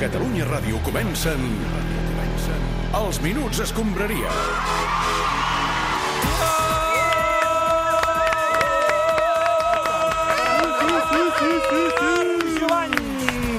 Catalunya Ràdio comencen... comencen Els Minuts Escombraria.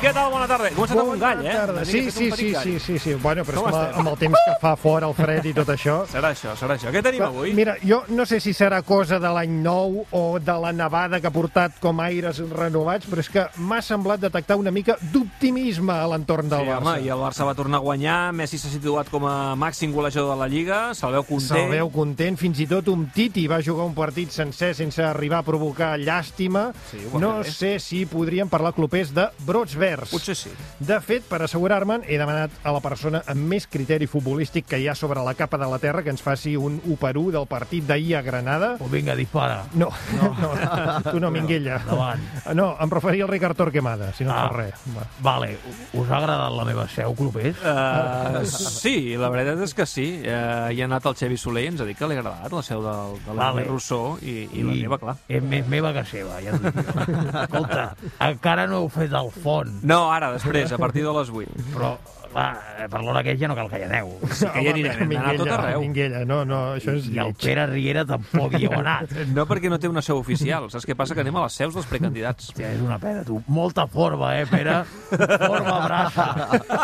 Què tal? Bona tarda. He començat amb un gall, eh? Una mica Sí, fet sí, un petit sí, gall. sí, sí, sí. Bueno, però Com és que estem? amb el temps que fa fora el fred i tot això... Serà això, serà això. Què tenim avui? Mira, jo no sé si serà cosa de l'any nou o de la nevada que ha portat com aires renovats, però és que m'ha semblat detectar una mica d'optimisme a l'entorn del Sí, home, Barça. i el Barça va tornar a guanyar, Messi s'ha situat com a màxim golejador de la Lliga, se'l veu content. Se'l veu content, fins i tot un Titi va jugar un partit sencer sense arribar a provocar llàstima. Sí, ho va no fer bé. sé si podríem parlar clopers de brots verds. Potser sí. De fet, per assegurar-me'n, he demanat a la persona amb més criteri futbolístic que hi ha sobre la capa de la Terra que ens faci un 1 per 1 del partit d'ahir a Granada. Oh, Pues venga, dispara. No, no, tu no, Minguella. davant. No, em referia al Ricard Torquemada, si no Ah. ah. fa res. Va. Vale, us ha agradat la meva seu, clubers? Uh, sí, la veritat és que sí. Uh, hi ha anat el Xevi Soler i ens ha dit que li ha agradat la seu del, de la Vale. vale. Rousseau i, i, la meva, clar. És més meva que seva, ja t'ho dic jo. Escolta, encara no heu fet el font, No, ara, després, a partir de les 8. però, clar, per l'hora que és ja no cal que hi aneu. Sí que hi anirem, hem d'anar a tot Minguella, arreu. Minguella, no, no, això és I el lleig. Pere Riera tampoc hi heu anat. No perquè no té una seu oficial. Saps què passa? Que anem a les seus dels precandidats. Hòstia, és una pena, tu. Molta forma, eh, Pere? Forma braça.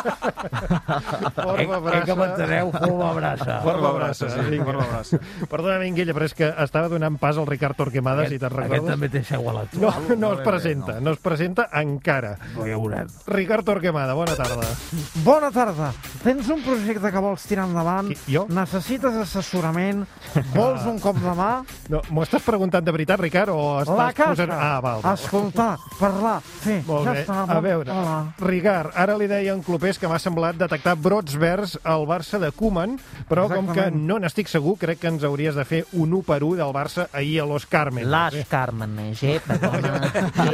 Forma, Eh, Eh, braça. que m'enteneu? Forma braça. Forma braça, sí, forma braça. Perdona, Minguella, però és que estava donant pas al Ricard Torquemada, si te'n aquest recordes. també té seu a l'actual. No, no es presenta, no es presenta encara. Però ja ho veurem. Ricard Torquemada, bona tarda. Bona tarda. Tens un projecte que vols tirar endavant? Qui, jo? Necessites assessorament? Vols un cop de mà? No, M'ho estàs preguntant de veritat, Ricard, o estàs La casa. posant... Ah, val. val. Escoltar, parlar, fer. Molt ja bé. està. A bon- veure, Hola. Ricard, ara li deia en Clopés que m'ha semblat detectar brots verds al Barça de Koeman, però com que Exactament. no n'estic segur, crec que ens hauries de fer un 1 per 1 del Barça ahir a Los Carmen. Las Carmen, eh?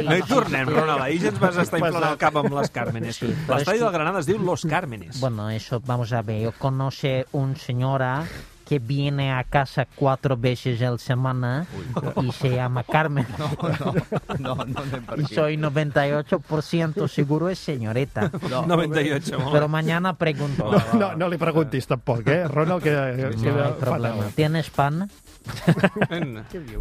No hi tornem, Ronald. Ahir ja ens vas estar inflant el cap amb les Cármenes. Sí, però L'estadi és que- Mm, del Granada es diu Los Cármenes. Bueno, eso, vamos a ver. Yo conoce un señora que viene a casa cuatro veces al semana y se llama Carmen. No, no anem per Y aquí. soy 98% seguro es señorita. 98, molt. Pero mañana pregunto. No, no, no li preguntis tampoc, eh? Ronald queda, No queda hay problema. fatal. ¿Tienes pan?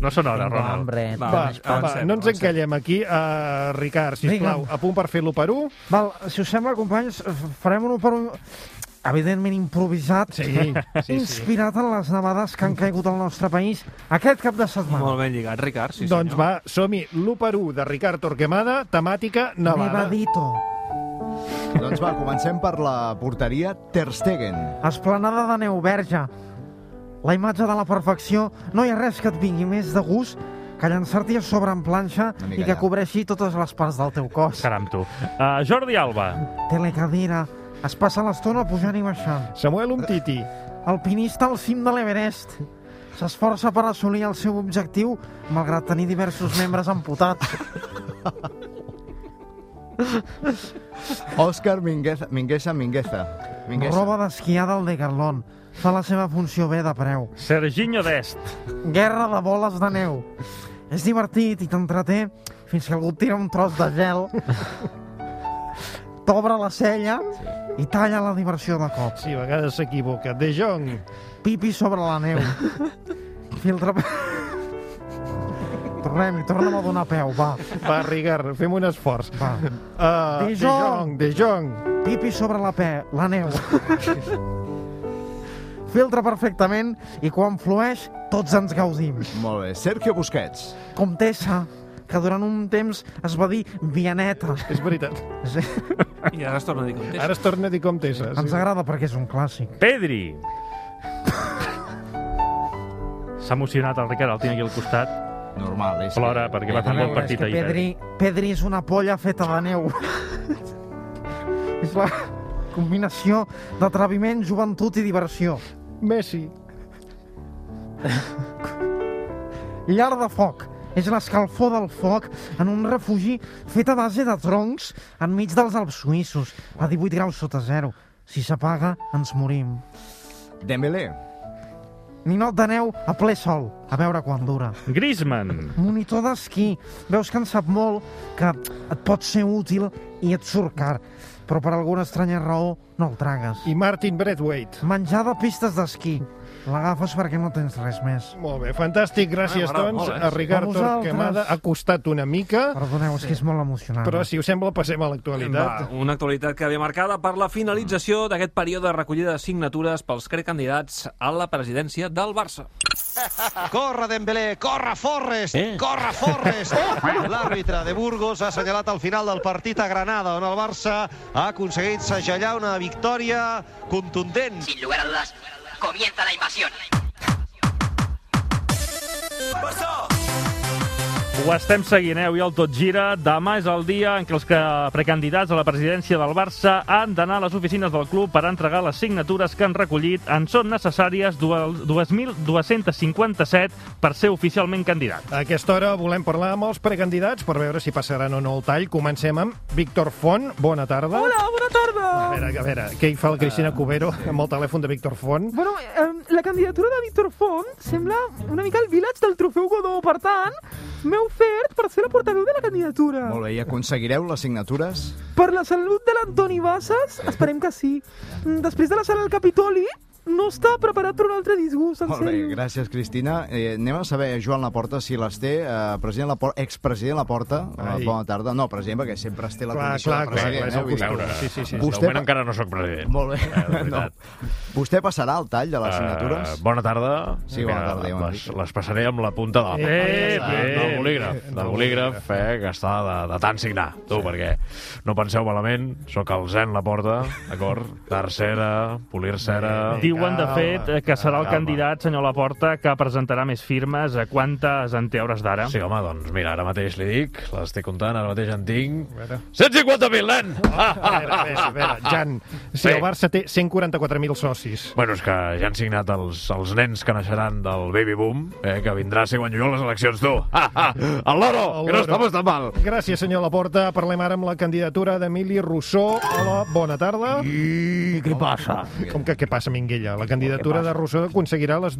No són hores, Tengo Ronald. hambre. Va, va, ¿Tienes pan? va, no ens encallem aquí. Uh, Ricard, sisplau, Vinga. a punt per fer l'1 per 1? Val, si us sembla, companys, farem un per un... Evidentment improvisat, Sí, sí, sí. inspirat en les nevades que han caigut al nostre país aquest cap de setmana. Molt ben lligat, Ricard. Sí, doncs senyor. va, som-hi. L'1 per 1 de Ricard Torquemada, temàtica nevada. Nevadito, Doncs va, comencem per la porteria Ter Stegen. esplanada de neu verge. La imatge de la perfecció, no hi ha res que et vingui més de gust que llançar-t'hi a sobre en planxa Una mica i que allà. cobreixi totes les parts del teu cos. Caram, tu. Uh, Jordi Alba. Telecadira, es passa l'estona pujant i baixant. Eh, Samuel Umtiti. Alpinista al cim de l'Everest. S'esforça per assolir el seu objectiu, malgrat tenir diversos membres amputats. Òscar Mingueza, Mingueza, Mingueza. Mingueza. Roba d'esquiar del Decathlon. Fa la seva funció bé de preu. Serginho Dest. Guerra de boles de neu. És divertit i t'entreté fins que algú et tira un tros de gel, t'obre la cella i talla la diversió de cop. Sí, a vegades s'equivoca. De Jong. pipi sobre la neu. Filtra... Tornem-hi, torna'm a donar peu, va, Va, Ricard, fem un esforç. va. Uh, De de Jong. Jong, de Jong. Pipi sobre la pe, la neu. Filtra perfectament i quan flueix tots ens gaudim. Molt bé. Sergio Busquets. Comtessa, que durant un temps es va dir Vianeta. És veritat. Sí, I ara es torna a dir com Ara es torna a dir comtessa. Ens agrada perquè és un clàssic. Pedri. S'ha emocionat el Ricard, el tinc aquí al costat. Normal, és... que- Plora perquè va fer un bon És partit que ahir. eh? Pedri, Pedri és una polla feta de neu. és la combinació d'atreviment, joventut i diversió. Messi. Llar de foc. És l'escalfor del foc en un refugi fet a base de troncs enmig dels Alps suïssos, a 18 graus sota zero. Si s'apaga, ens morim. Dembélé. Ninot de neu a ple sol, a veure quan dura. Pedri. Griezmann. Monitor d'esquí, veus que en sap molt, que et pot ser útil i et surt car. però per alguna estranya raó no el tragues. I Martin Braithwaite. Menjar de pistes d'esquí. L'agafes perquè no tens res més. Molt bé, fantàstic, gràcies, Ah, m'agrada, doncs, molt bé. a Ricard A vosaltres. Torquemada. Ha costat una mica, Perdoneu, és que és molt emocionant. però, si us sembla, passem a l'actualitat. Va, una actualitat que ve marcada per la finalització d'aquest període de recollida de signatures pels candidats a la presidència del Barça. Corre Dembélé, corre Forres, eh? corre Forres. L'àrbitre de Burgos ha assenyalat el final del partit a Granada, on el Barça ha aconseguit segellar una victòria contundent. Sin lugar a dudas, comienza la invasión. Ho estem seguint, eh? Avui el Tot Gira. Demà és el dia en què els que- precandidats a la presidència del Barça han d'anar a les oficines del club per entregar les signatures que han recollit. En són necessàries dues- 2.257 per ser oficialment candidat. A aquesta hora volem parlar amb els precandidats per veure si passaran o no el tall. Comencem amb Víctor Font. Bona tarda. Hola, bona tarda. A veure, a veure, què hi fa la Cristina Ah. Cubero amb el telèfon de Víctor Font? Bueno, eh, la candidatura de Víctor Font sembla una mica el village del trofeu Godó, per tant, m'he ofert per ser la portaveu de la candidatura. Molt bé, i aconseguireu les signatures? Per la salut de l'Antoni Bassas, esperem que sí. Mm, Després de la sala al Capitoli, no està preparat per un altre disgust, en Molt bé, sèrio. gràcies, Cristina. Eh, anem a saber, Joan Laporta, si les té. Eh, president Laporta, expresident Laporta, Ai. Ai. bona tarda. No, president, perquè sempre es té la Clar, condició clar, de clar, president. clar, és el eh, vull dir costum. que- Sí, sí, Eh, sí. Vostè, pa... no sóc president. Molt bé. no. Vostè passarà al tall de les signatures? Uh, bona tarda. Sí, bona tarda, Joan les, Enric. les passaré amb la punta de la mà. Eh, del, del bolígraf, del bolígraf eh, que està de, de tant signar. Tu, perquè no penseu malament, sóc el zen la porta, d'acord? Tercera, polir-cera... Diuen, de Calma, fet, eh, que serà el calma. candidat, senyor Laporta, que presentarà més firmes. A quantes en té a hores d'ara? Sí, home, doncs mira, ara mateix li dic, les estic comptant, ara mateix en tinc... veure. 150.000, nen! A veure, a veure, a veure. Jan, si Bé. el Barça té 144.000 socis, Bueno, és que ja han signat els, els nens que naixeran del Baby Boom, eh, que vindrà a ser guanyador a les eleccions, tu. Ha, ha, el loro, El que loro. no estamos tan mal. Gràcies, senyor Laporta. Parlem ara amb la candidatura d'Emili Rousseau. Hola, bona tarda. I què passa? Com que què passa, Minguella? La candidatura de Rousseau aconseguirà les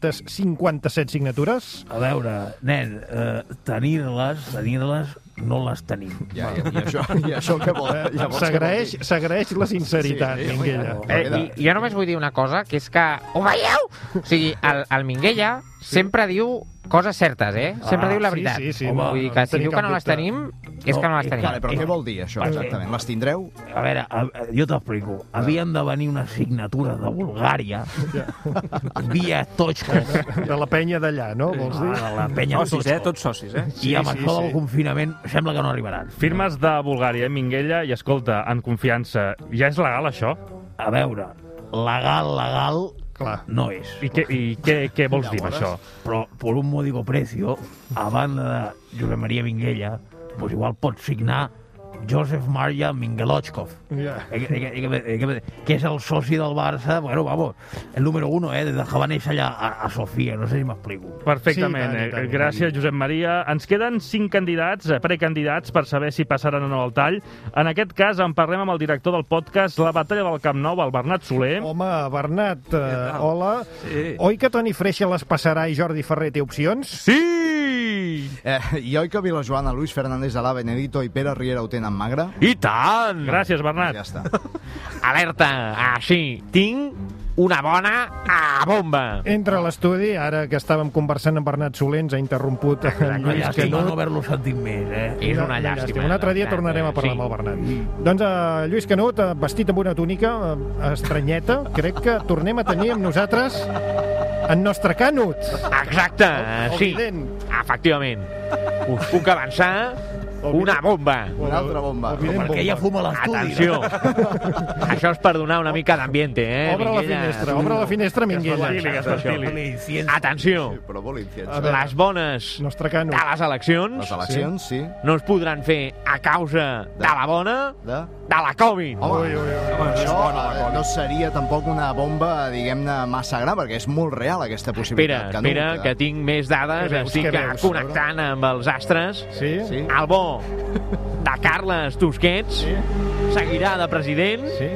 2.257 signatures? A veure, nen, eh, tenir-les, tenir-les, no les tenim. Ja, ja, i, això, I això què vol? eh? Llavors, què vol Eh, S'agraeix dir? s'agraeix la sinceritat, Sí, sí, Minguella. home, Eh, i, jo només vull dir una cosa, que és que... Ho veieu? O sigui, el, el Minguella sempre diu coses certes, eh? Sempre Ah, diu la sí, veritat. sí, sí, no, Vull dir no que si tenim diu cap que no les dubte. tenim, és que no les tenim. Vale, però què vol dir això, exactament? Les tindreu? Eh, A veure, a, a- jo t'explico. Havien de venir unes signatures de Bulgària via Tochkos De la penya d'allà, no? Vols dir? a la penya de Socis, eh? Tochkos. Tots socis, eh? I amb Sí, sí, això del sí. confinament sembla que no arribaran. Firmes de Bulgària, eh, Minguella, i escolta, en confiança, ja és legal això? A veure, legal, legal, Clar. no és. I què, i què, què vols dir amb això? però per un módico precio, a banda de Josep Maria Minguella, pues igual pot signar Josef Maria Mingelochkov, Ja. eh, que- que- que- que- que és el soci del Barça, bueno, vamos, el número uno, eh, des de que va néixer allà a, a Sofia, no sé si m'explico. Perfectament. Sí, i tant, i eh? tant, i tant. Gràcies, Josep Maria. Ens queden cinc candidats, eh, precandidats, per saber si passaran o no al tall. En aquest cas, en parlem amb el director del podcast La Batalla del Camp Nou, el Bernat Soler. Home, Bernat, eh, tal? hola. Sí. Oi que Toni Freixa les passarà i Jordi Ferrer té opcions? Sí! Eh, I oi que Vilajoana, Luis Fernández Alá, Benedito i Pere Riera ho tenen magre? I tant! Gràcies, Bernat. Ja està. Alerta! Així, tinc una bona a bomba! Entra a l'estudi, ara que estàvem conversant amb Bernat Soler, ens ha interromput Ah, en Una Lluís llàstima no Canut. haver-lo sentit més, eh? És una Una llàstima. Un altre dia la veritat, tornarem a eh? parlar Sí. amb el Bernat. Doncs eh, Lluís Canut, eh, vestit amb una túnica eh, estranyeta, crec que tornem a tenir amb nosaltres en nostre Canut. Exacte, El sí. vident. Efectivament. Us puc avançar una bomba. Una altra bomba. El vident Perquè ella bomba. fuma a l'estudi. Atenció. Això és per donar una mica d'ambiente, eh? Obre la Minguella? finestra, obre la finestra, Minguella. Fastili, que es fastili. Atenció. Però vol A inciència. veure. Les bones Nostre Canut. de les eleccions Les eleccions, sí. no es podran fer a causa de la bona De... de la Covid. Home, ui, ui, ui. això eh, no seria tampoc una bomba, diguem-ne, massa gran, perquè és molt real aquesta Espera, possibilitat. Canut, espera, eh? que tinc més Què dades, veus, estic què veus? connectant amb els astres. Sí? Sí? El bo de Carles Tusquets seguirà de president Sí?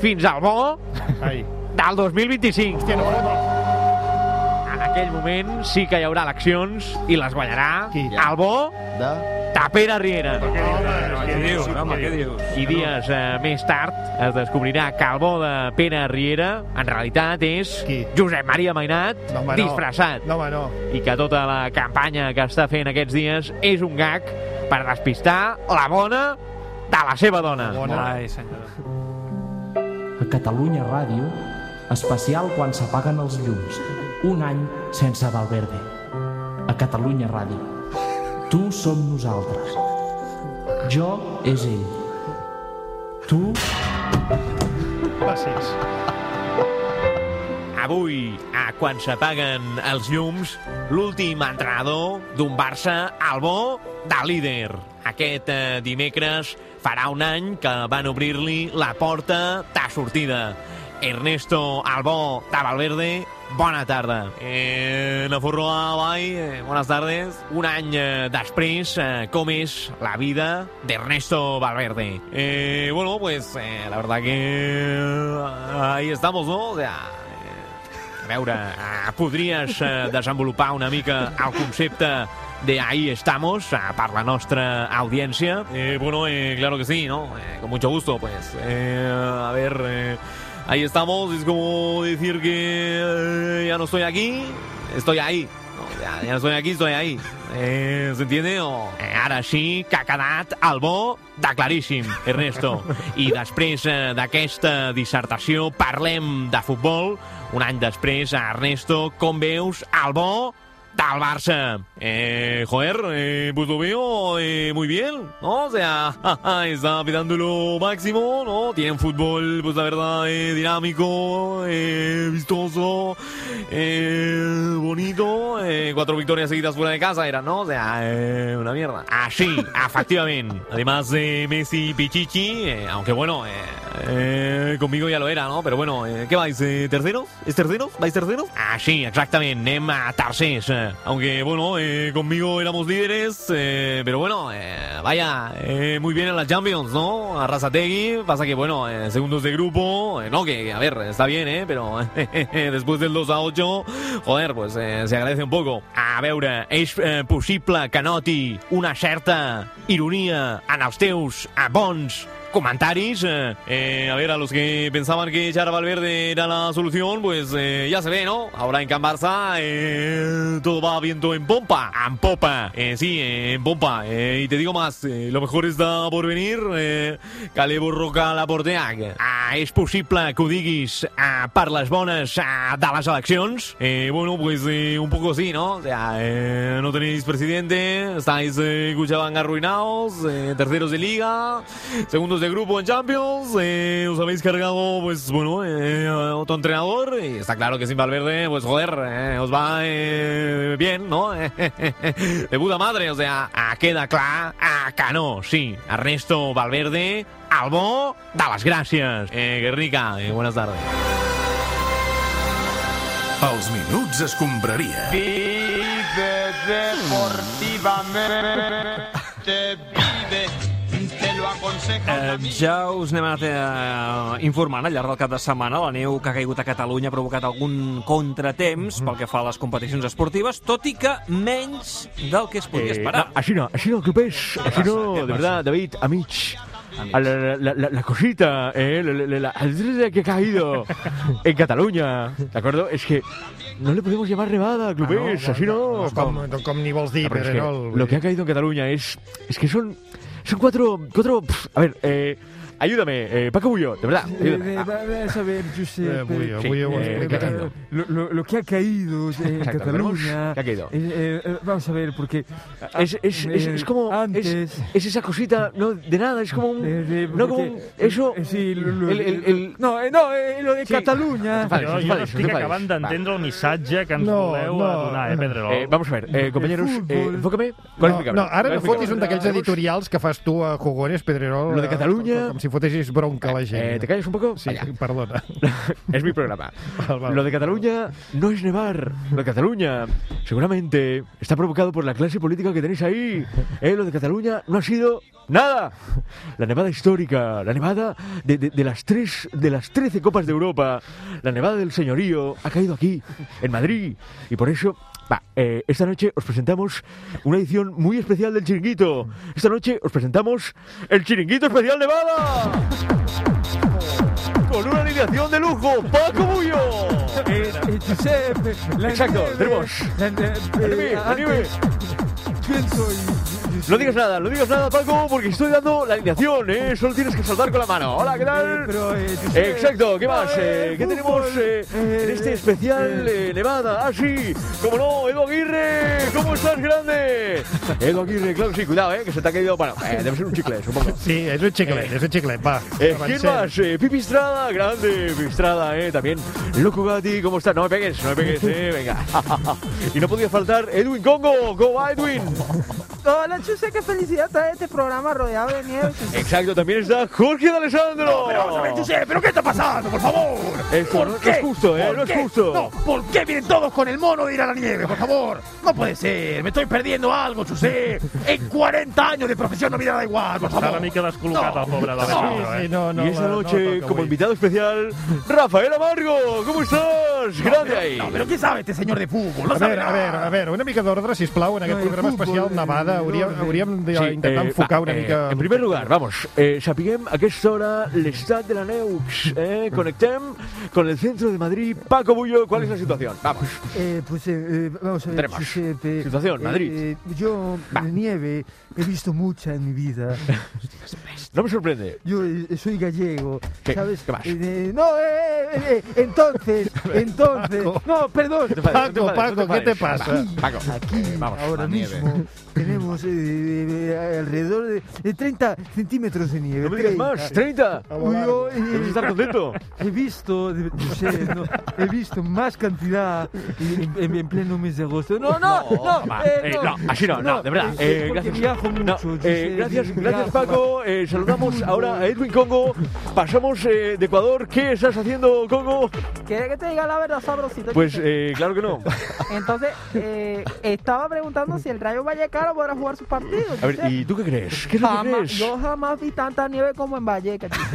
fins al bo Ai. del 2025. Hòstia, no, no, no. En aquell moment sí que hi haurà eleccions i les guanyarà Qui? el bo de... Tapera Riera. Què dius, home, què dius? I dies eh, més tard es descobrirà que el bo de Pere Riera en realitat és Qui? Josep Maria Mainat no, home, no. disfressat. No, home, no. I que tota la campanya que està fent aquests dies és un gag per despistar la bona de la seva dona. Ai, senyor. A Catalunya Ràdio, especial quan s'apaguen els llums. Un any sense Valverde. A Catalunya Ràdio. Tu som nosaltres. Jo és ell. Tu... Gràcies. Avui, a quan s'apaguen els llums, l'últim entrenador d'un Barça al bo de líder. Aquest eh, dimecres farà un any que van obrir-li la porta de sortida. Ernesto Albó de Valverde, bona tarda. Eh, la Furroa, Blai, eh, bones tardes. Un any eh, després, eh, com és la vida d'Ernesto Valverde? Eh, bueno, pues eh, la verdad que eh, ahí estamos, ¿no? O sea, a veure, eh, podries eh, desenvolupar una mica el concepte de ahí estamos eh, per la nostra audiència? Eh, bueno, eh, claro que sí, ¿no? Eh, con mucho gusto, pues. Eh, a ver, eh, ahí estamos, es como decir que eh, ya no estoy aquí, estoy ahí. No, ja, ja no estoy aquí, estoy ahí. Eh, ¿S'entiende? O... Eh, ara sí que ha quedat el bo de claríssim, Ernesto. I després eh, d'aquesta dissertació parlem de futbol. Un any després, Ernesto, com veus el bo del Barça? Eh, joder, eh, pues lo veo eh, muy bien, ¿no? O sea, está apretando lo máximo, ¿no? Tiene un fútbol, pues la verdad, eh, dinámico, eh, vistoso, eh, bonito. Eh, cuatro victorias seguidas fuera de casa era, ¿no? O sea, eh, una mierda. Así, efectivamente. ah, Además, eh, Messi Pichichi, eh, aunque bueno, eh, eh, conmigo ya lo era, ¿no? Pero bueno, eh, ¿qué vais? Eh, ¿Terceros? ¿Es terceros? ¿Vais terceros? Ah, sí, exactamente. Nema Tarses. eh. Aunque bueno, eh, conmigo éramos líderes, eh, pero bueno, eh, vaya, eh, muy bien en la Champions, ¿no? Arrasategui, pasa que bueno, eh, segundos de grupo, eh, no, que a ver, está bien, ¿eh? Pero después del 2 a 8, joder, pues eh, se agradece un poco. A veure, és eh, possible que noti una certa ironia en els teus eh, bons comentaris. eh? Eh, a ver, a los que pensaban que echar a Valverde era la solución, pues eh, ya se ve, ¿no? Ahora en Can Barça eh, todo va viento en pompa. En popa. Eh, sí, eh, en pompa. Eh, y te digo más, eh, lo mejor está por venir. Eh, Calebo Roca la Porteac. Ah, és possible que ho diguis ah, per les bones ah, de les eleccions? Eh, bueno, pues eh, un poco sí, ¿no? O sea, eh, no tenéis presidente, estáis eh, Cuchaban arruinados, eh, terceros de liga, segundos de grupo en Champions, eh, os habéis cargado, pues bueno, eh, a otro entrenador, y está claro que sin Valverde, pues joder, eh, os va eh, bien, ¿no? de puta madre, o sea, ah, queda clar, ah, que no, sí, Ernesto Valverde, al bo de les gràcies. Eh, Guernica, eh, buenas tardes. Els minuts escombraria. Vive deportivamente, vive, te lo aconsejo. Eh, ja us n'hem anat eh, informant al llarg del cap de setmana. La neu que ha caigut a Catalunya ha provocat algun contratemps pel que fa a les competicions esportives, tot i que menys del que es podia esperar. Eh, no, així no, així no, clubers, així no, passa? Què de verdad, David, a mig. A la, la, la- la, la cosita, eh, la, la, la, la- la que ha caído en Cataluña, ¿de acuerdo? Es que no le podemos llamar nevada, clubes, no, así Ah, no. no, com- no, com ni vols dir, Ah, pero es que Pedrerol. lo que ha caído en Cataluña es, es que son, son cuatro, cuatro, pf, a ver, eh, ayúdame, eh, Paco Bullo, de verdad, ayúdame. Eh, va- vas a ver, Giuseppe. Eh, voy yo, voy yo, voy yo. eh, ¿Qué ha caído? Lo, lo- lo que ha caído en Exacto, Cataluña. ¿qué ha caído? eh, eh, vamos a ver, porque. eh, Es, es- es- es como. es- Antes. Es, esa cosita, no, de nada, es como un. Eh, eh, no como un- porque- Eso. eh, sí, lo- lo- el- el- el- no, eh, no, eh, lo de Sí. Cataluña. Vale, Jo, sí, jo no vale, sí, estic vale. acabant Va. d'entendre el missatge que ens No, voleu no. donar, eh, Pedrerol? Eh, vamos a ver, eh, compañeros, eh, enfócame. ¿Cuál No, explicamos? no, ara ¿Cuál no explicamos? fotis un d'aquells editorials que fas tu a Jugones, Pedrerol... Lo de eh, Cataluña, com- com si fotessis bronca a la gent. Eh, ¿te calles un poco? Sí, perdona. es mi programa. vale. Lo de Cataluña no es nevar. Lo de Cataluña seguramente está provocado por la clase política que tenéis ahí. Eh, lo de Cataluña no ha sido nada. La nevada histórica, la nevada de, de- de las tres, de las 13 copas de Europa, la nevada del señorío ha caído aquí, en Madrid. Y por eso... va, eh, esta noche os presentamos una edición muy especial del Chiringuito. Esta noche os presentamos el Chiringuito Especial Nevada. Con una alineación de lujo, Paco Bullo. Exacto, tenemos. Anime, anime. No digas nada, no digas nada, Paco, porque estoy dando la alineación, ¿eh? Solo tienes que saltar con la mano. Hola, ¿qué tal? Exacto, ¿qué más? Eh, ¿Qué tenemos eh, en este especial eh, Nevada? Ah, sí, cómo no, Edu Aguirre, ¿cómo estás, grande? Eh, Edu Aguirre, claro, que sí, cuidado, ¿eh? Que se te ha caído. Bueno, eh, debe ser un chicle, supongo. Sí, és un xiclet, és un xiclet, va. Eh, ¿Quién avancem. más? Eh, Pipi Estrada, grande, Pipi Estrada, eh, también. Loco Gatti, ¿cómo estás? No me pegues, no me pegues, eh, venga. y no podía faltar Edwin Congo, ¿cómo va Edwin? Hola, Chuse, qué felicidad trae eh, este programa rodeado de nieve. Exacto, también está Jorge de Alessandro. No, pero vamos a ver, Josep, ¿pero qué está pasando, por favor? Esto ¿Por no, no qué? es justo, eh, ¿Por no es qué? justo. No, ¿por qué vienen todos con el mono de ir a la nieve, por favor? No puede ser, me estoy perdiendo algo, Chuse. En 40 años de profesión no me da igual, por Està una favor. mica descol·locat el pobre eh. de Sí, sí, no, y esta noche, como invitado especial, Rafael Amargo, ¿cómo estás? Grande ahí. No, pero ¿qué sabe este señor de fútbol? A veure, a veure, a veure, una mica d'ordre, si plau, en aquest programa especial Nevada. Hauríem, hauríem d'intentar eh, enfocar va, una eh, mica... En primer lugar, vamos, eh, sapiguem a qué hora l'estat de la Neux. Eh, conectem con el centro de Madrid. Paco Bullo, ¿cuál es la situación? Vamos. Eh, pues eh, eh, vamos a ver, Tenemos. Giuseppe, Situación, eh, Madrid. eh, yo eh, nieve he visto mucha en mi vida. No me sorprende. Yo eh, soy gallego, ¿Qué? ¿sabes? ¿Qué más? Eh, eh, no, eh, eh, eh, entonces, entonces, no, perdón. No te enfades, no te enfades, no enfades. Va, Paco, Aquí, eh, vamos, ahora la nieve. mismo, tenemos eh, eh, eh, alrededor de, de 30 centímetros de nieve. No me digas más, 30. Uy, yo, eh, Debes estar contento. He visto, de- no sé, no, he visto más cantidad en, en- en pleno mes de agosto. No, no, no, va, eh, eh, no, así no, no, de verdad. eh, Eh, porque gracias. viajo No, mucho, eh, Giuseppe, gracias, viajo gracias Paco. Eh, saludamos ahora a Edwin Congo. Pasamos eh, de Ecuador. ¿Qué estás haciendo, Congo? ¿Quieres que te diga la verdad, sabrosito? Pues Chuse? eh, claro que no. Entonces, eh, estaba preguntando si el Rayo Vallecano podrá jugar sus partidos. A ver, Chuse. ¿y tú qué crees? ¿Qué es lo que Jamás- crees? Yo jamás vi tanta nieve como en Vallecas. Chuse.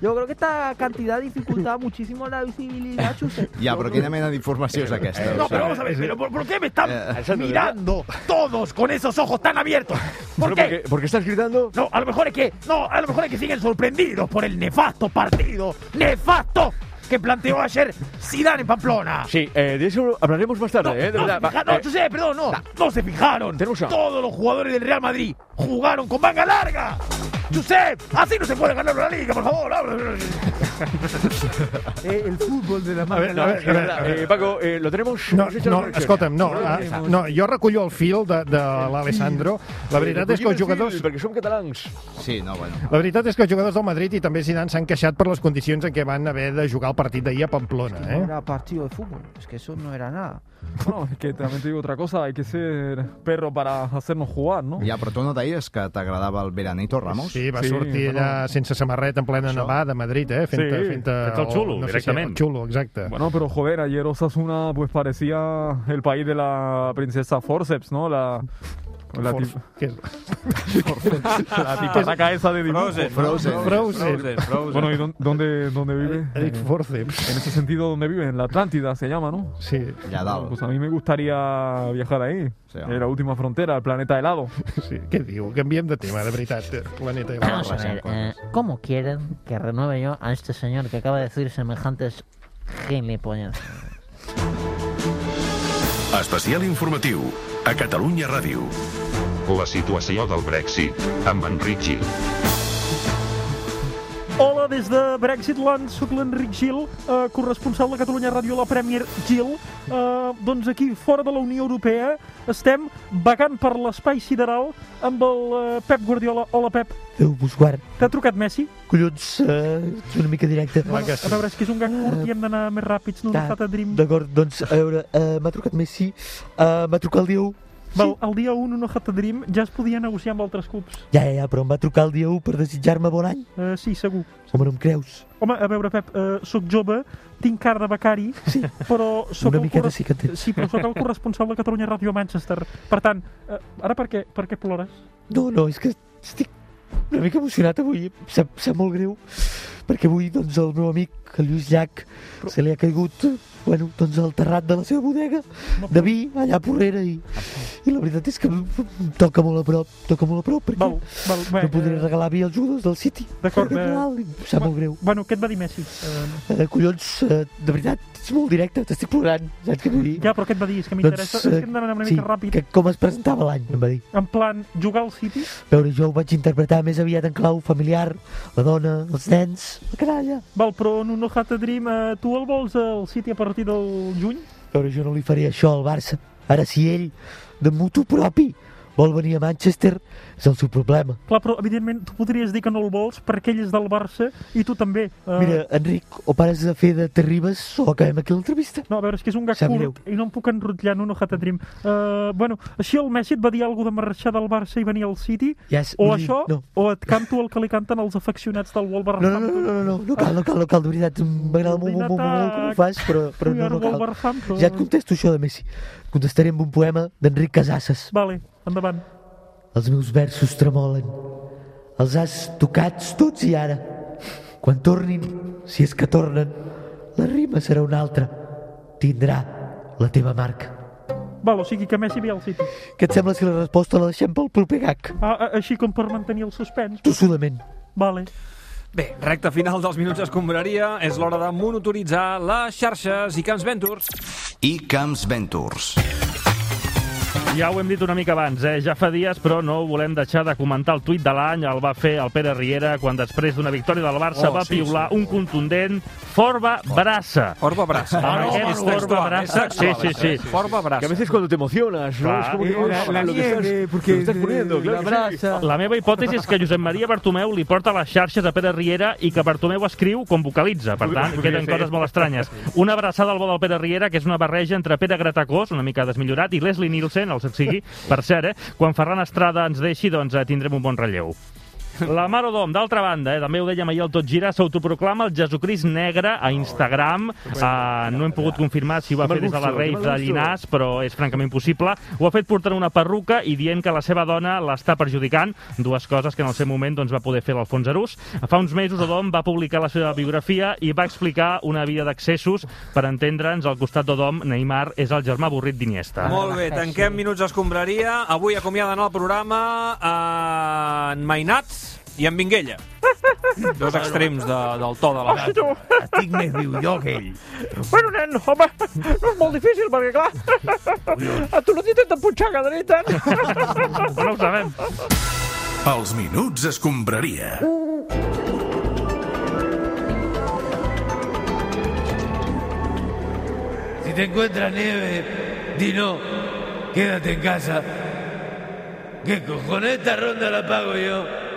Yo creo que esta cantidad dificultaba muchísimo la visibilidad, Chuse. Ja, però quina mena d'informació és aquesta? Eh, No, però vamos a ver, pero ¿por, por qué me están mirando todos con esos ojos tan abiertos? ¿Por qué? eh, Porque, estás gritando? No, a lo mejor es que no, a lo mejor es que siguen sorprendidos por el nefasto partido, nefasto que planteó ayer Zidane en Pamplona. Sí, eh, de eso hablaremos más tarde, ¿eh? De no, verdad. se va, fija- no, eh, José, perdón, no, no se fijaron. Tenemos a- Todos los jugadores del Real Madrid jugaron con manga larga. Josep, así no se puede ganar la liga, por favor. Eh, el fútbol de la A ver, mano. a ver, a ver, a eh, ver. Paco, eh, lo tenemos. No, Hemos hecho no, la conexión. Em, escolta'm, no, lo ah, tenemos. no, jo recullo el fil de, de l'Alessandro. La veritat és que els jugadors... Perquè som catalans. Sí, no, bueno. La veritat és que els jugadors del Madrid i també Zidane s'han queixat per les condicions en què van haver de jugar el partit d'ahir a Pamplona, eh? era partido de fútbol, es que eso no era nada. No, es que también te digo otra cosa, hay que ser perro para hacernos jugar, ¿no? Ja, però tu no deies que t'agradava el Veranito Ramos? Sí, va sí, sortir allà Ah, sense samarreta en plena nevada a Madrid, eh? Fent, Sí, fent fent el xulo, no sé Si, directament. el xulo, exacte. Bueno, pero joder, ayer Osasuna pues parecía el país de la princesa Forceps, ¿no? La... La, tip- la tiparraca esa de dibujo. Frozen, ¿no? Frozen. Frozen. Frozen, Frozen. Bueno, ¿y dó- dónde, dónde vive? Eh, Eric Forceps. En ese sentido, ¿dónde vive? En la Atlántida se llama, ¿no? Sí. Ya dado. Pues a mí me gustaría viajar ahí. en la última frontera, el planeta helado. Sí, ¿Qué digo? Canviem de tema, de veritat. Planeta i Vamos a ver, eh, ¿cómo quieren que renueve yo a este señor que acaba de decir semejantes gilipollas? Especial informatiu a Catalunya Ràdio. La situació del Brexit amb Enric Gil. Hola, des de Brexitland, sóc l'Enric Gil, eh, corresponsal de Catalunya Ràdio a la Premier Gil. Eh, doncs aquí, fora de la Unió Europea, estem vagant per l'espai sideral amb el eh, Pep Guardiola. Hola, Pep. Déu vos Eh, guard. T'ha trucat Messi? Collons, eh, ets una mica directe. Bueno, a veure, és que és un gag curt i hem d'anar més ràpids, no? Ta- Fata Dream. D'acord, doncs, a veure, eh, m'ha trucat Messi, eh, m'ha trucat el Diu, Val, el dia 1 no Hat Dream ja es podia negociar amb altres clubs. Ja, ja, ja, però em va trucar el dia 1 per desitjar-me bon any. Uh, sí, segur. Home, no em creus? Home, a veure, Pep, eh, sóc jove, tinc cara de becari, sí. però sóc Una el miqueta sí que en tens. sí, però sóc el corresponsal de Catalunya Ràdio a Manchester. Per tant, eh, ara per què, per què plores? No, Oh, no, és que estic una mica emocionat avui. Em sap, sap molt greu, perquè avui doncs, el meu amic, el Lluís Llach, però... se li ha caigut eh, bueno, doncs, al terrat de la seva bodega de vi, allà a Porrera, i, i la veritat és que em em toca molt a prop, toca molt a prop, perquè val, val, eh. bé, no podré regalar vi als jugadors del City. D'acord, eh... eh, Em sap molt greu. Bueno, què et va dir Messi? Eh, Eh, collons, eh, de veritat, ets molt directe, t'estic plorant, saps què vull dir? Doncs, Ja, però què et va dir? És que m'interessa, és que hem d'anar una sí, mica ràpid. Que com es presentava l'any, em va dir. En plan, jugar al City? A veure, jo ho vaig interpretar més aviat en clau familiar, la dona, els nens... Caralla. Val, però en un No Hat a Dream, eh, tu el vols al City a partir del juny? A veure, jo no li faria això al Barça. Ara, si ell, de mutu propi, vol venir a Manchester, és el seu problema. Clar, però evidentment tu podries dir que no el vols perquè ell és del Barça i tu també. Eh, Mira, Enric, o pares de fer de terribes o acabem aquí l'entrevista. No, a veure, és que és un gag Sap curt i no em puc enrotllar en un Hat a Dream. Uh, bueno, així el Messi et va dir alguna de marxar del Barça i venir al City? Yes, o no, això, no. o et canto el que li canten els afeccionats del No, Wolverhampton? no, no, no, no, no, no cal, no cal, no cal, de veritat, m'agrada molt, molt, molt, molt com ho fas, però, però no, no cal. Ja et contesto això de Messi. Contestaré amb un poema d'Enric Casasses. Vale, endavant. Els meus versos tremolen. Els has tocats tots i ara. Quan tornin, si és que tornen, la rima serà una altra. Tindrà la teva marca. Val, o sigui que Messi ve al City. Què et sembla si la resposta la deixem pel proper gag? Ah, a- així com per mantenir el suspens. Tossudament. Vale. Bé, recta final dels Minuts Escombraria, és l'hora de monitoritzar les xarxes i Camps Ventures. I Camps Ventures. Ja ho hem dit una mica abans, eh? ja fa dies, però no volem deixar de comentar el tuit de l'any. El va fer el Pere Riera quan després d'una victòria del Barça Oh, va sí, piular un contundent Forba Brassa. Forba Brassa. Ah, no, no, és Forba textual, és Brassa. Sí, textual, sí, és sí. textual. Forba Brassa. Que a veces cuando te emocionas, ¿no? Clar. Es como que, Eh, oh, la- la lo que estás- nieve, lo que porque estás poniendo, la claro que sí. La meva hipòtesi és que Josep Maria Bartomeu li porta les xarxes a Pere Riera i que Bartomeu escriu com vocalitza. Per tant, Podria queden ser. coses molt estranyes. Una abraçada al bo del Pere Riera, que és una barreja entre Pere Gratacós, una mica desmillorat, i Leslie Nielsen, el se't sigui, per cert, eh? Quan Ferran Estrada ens deixi, doncs eh, tindrem un bon relleu. La Mar Odom, d'altra banda, eh, també ho dèiem ahir al Tot Gira, s'autoproclama el Jesucrist Negre a Instagram. Eh, no hem pogut confirmar si ho va Mal fer des de la gusto, Reis mal de gusto. Llinars, cas, però és francament possible. Ho ha fet portant una perruca i dient que la seva dona l'està perjudicant, dues coses que en el seu moment doncs, va poder fer l'Alfons Arús. Fa uns mesos, Odom va publicar la seva biografia i va explicar una vida d'accessos. Per entendre'ns, al costat d'Odom, Neymar és el germà avorrit d'Iniesta. Molt bé, tanquem Minuts Escombraria. Avui acomiaden el programa eh, en Mainat i en Vinguella. Dos extrems de, del to de la Hosti, tu. Estic més viu jo que ell. Bueno, nen, home, no és molt difícil, perquè, clar, a tu no t'hi tenen punxar cada nit, eh? No ho sabem. Els Minuts Escombraria. Si te encuentras nieve, dino, quédate en casa. ¿Qué cojones? Esta ronda la pago yo.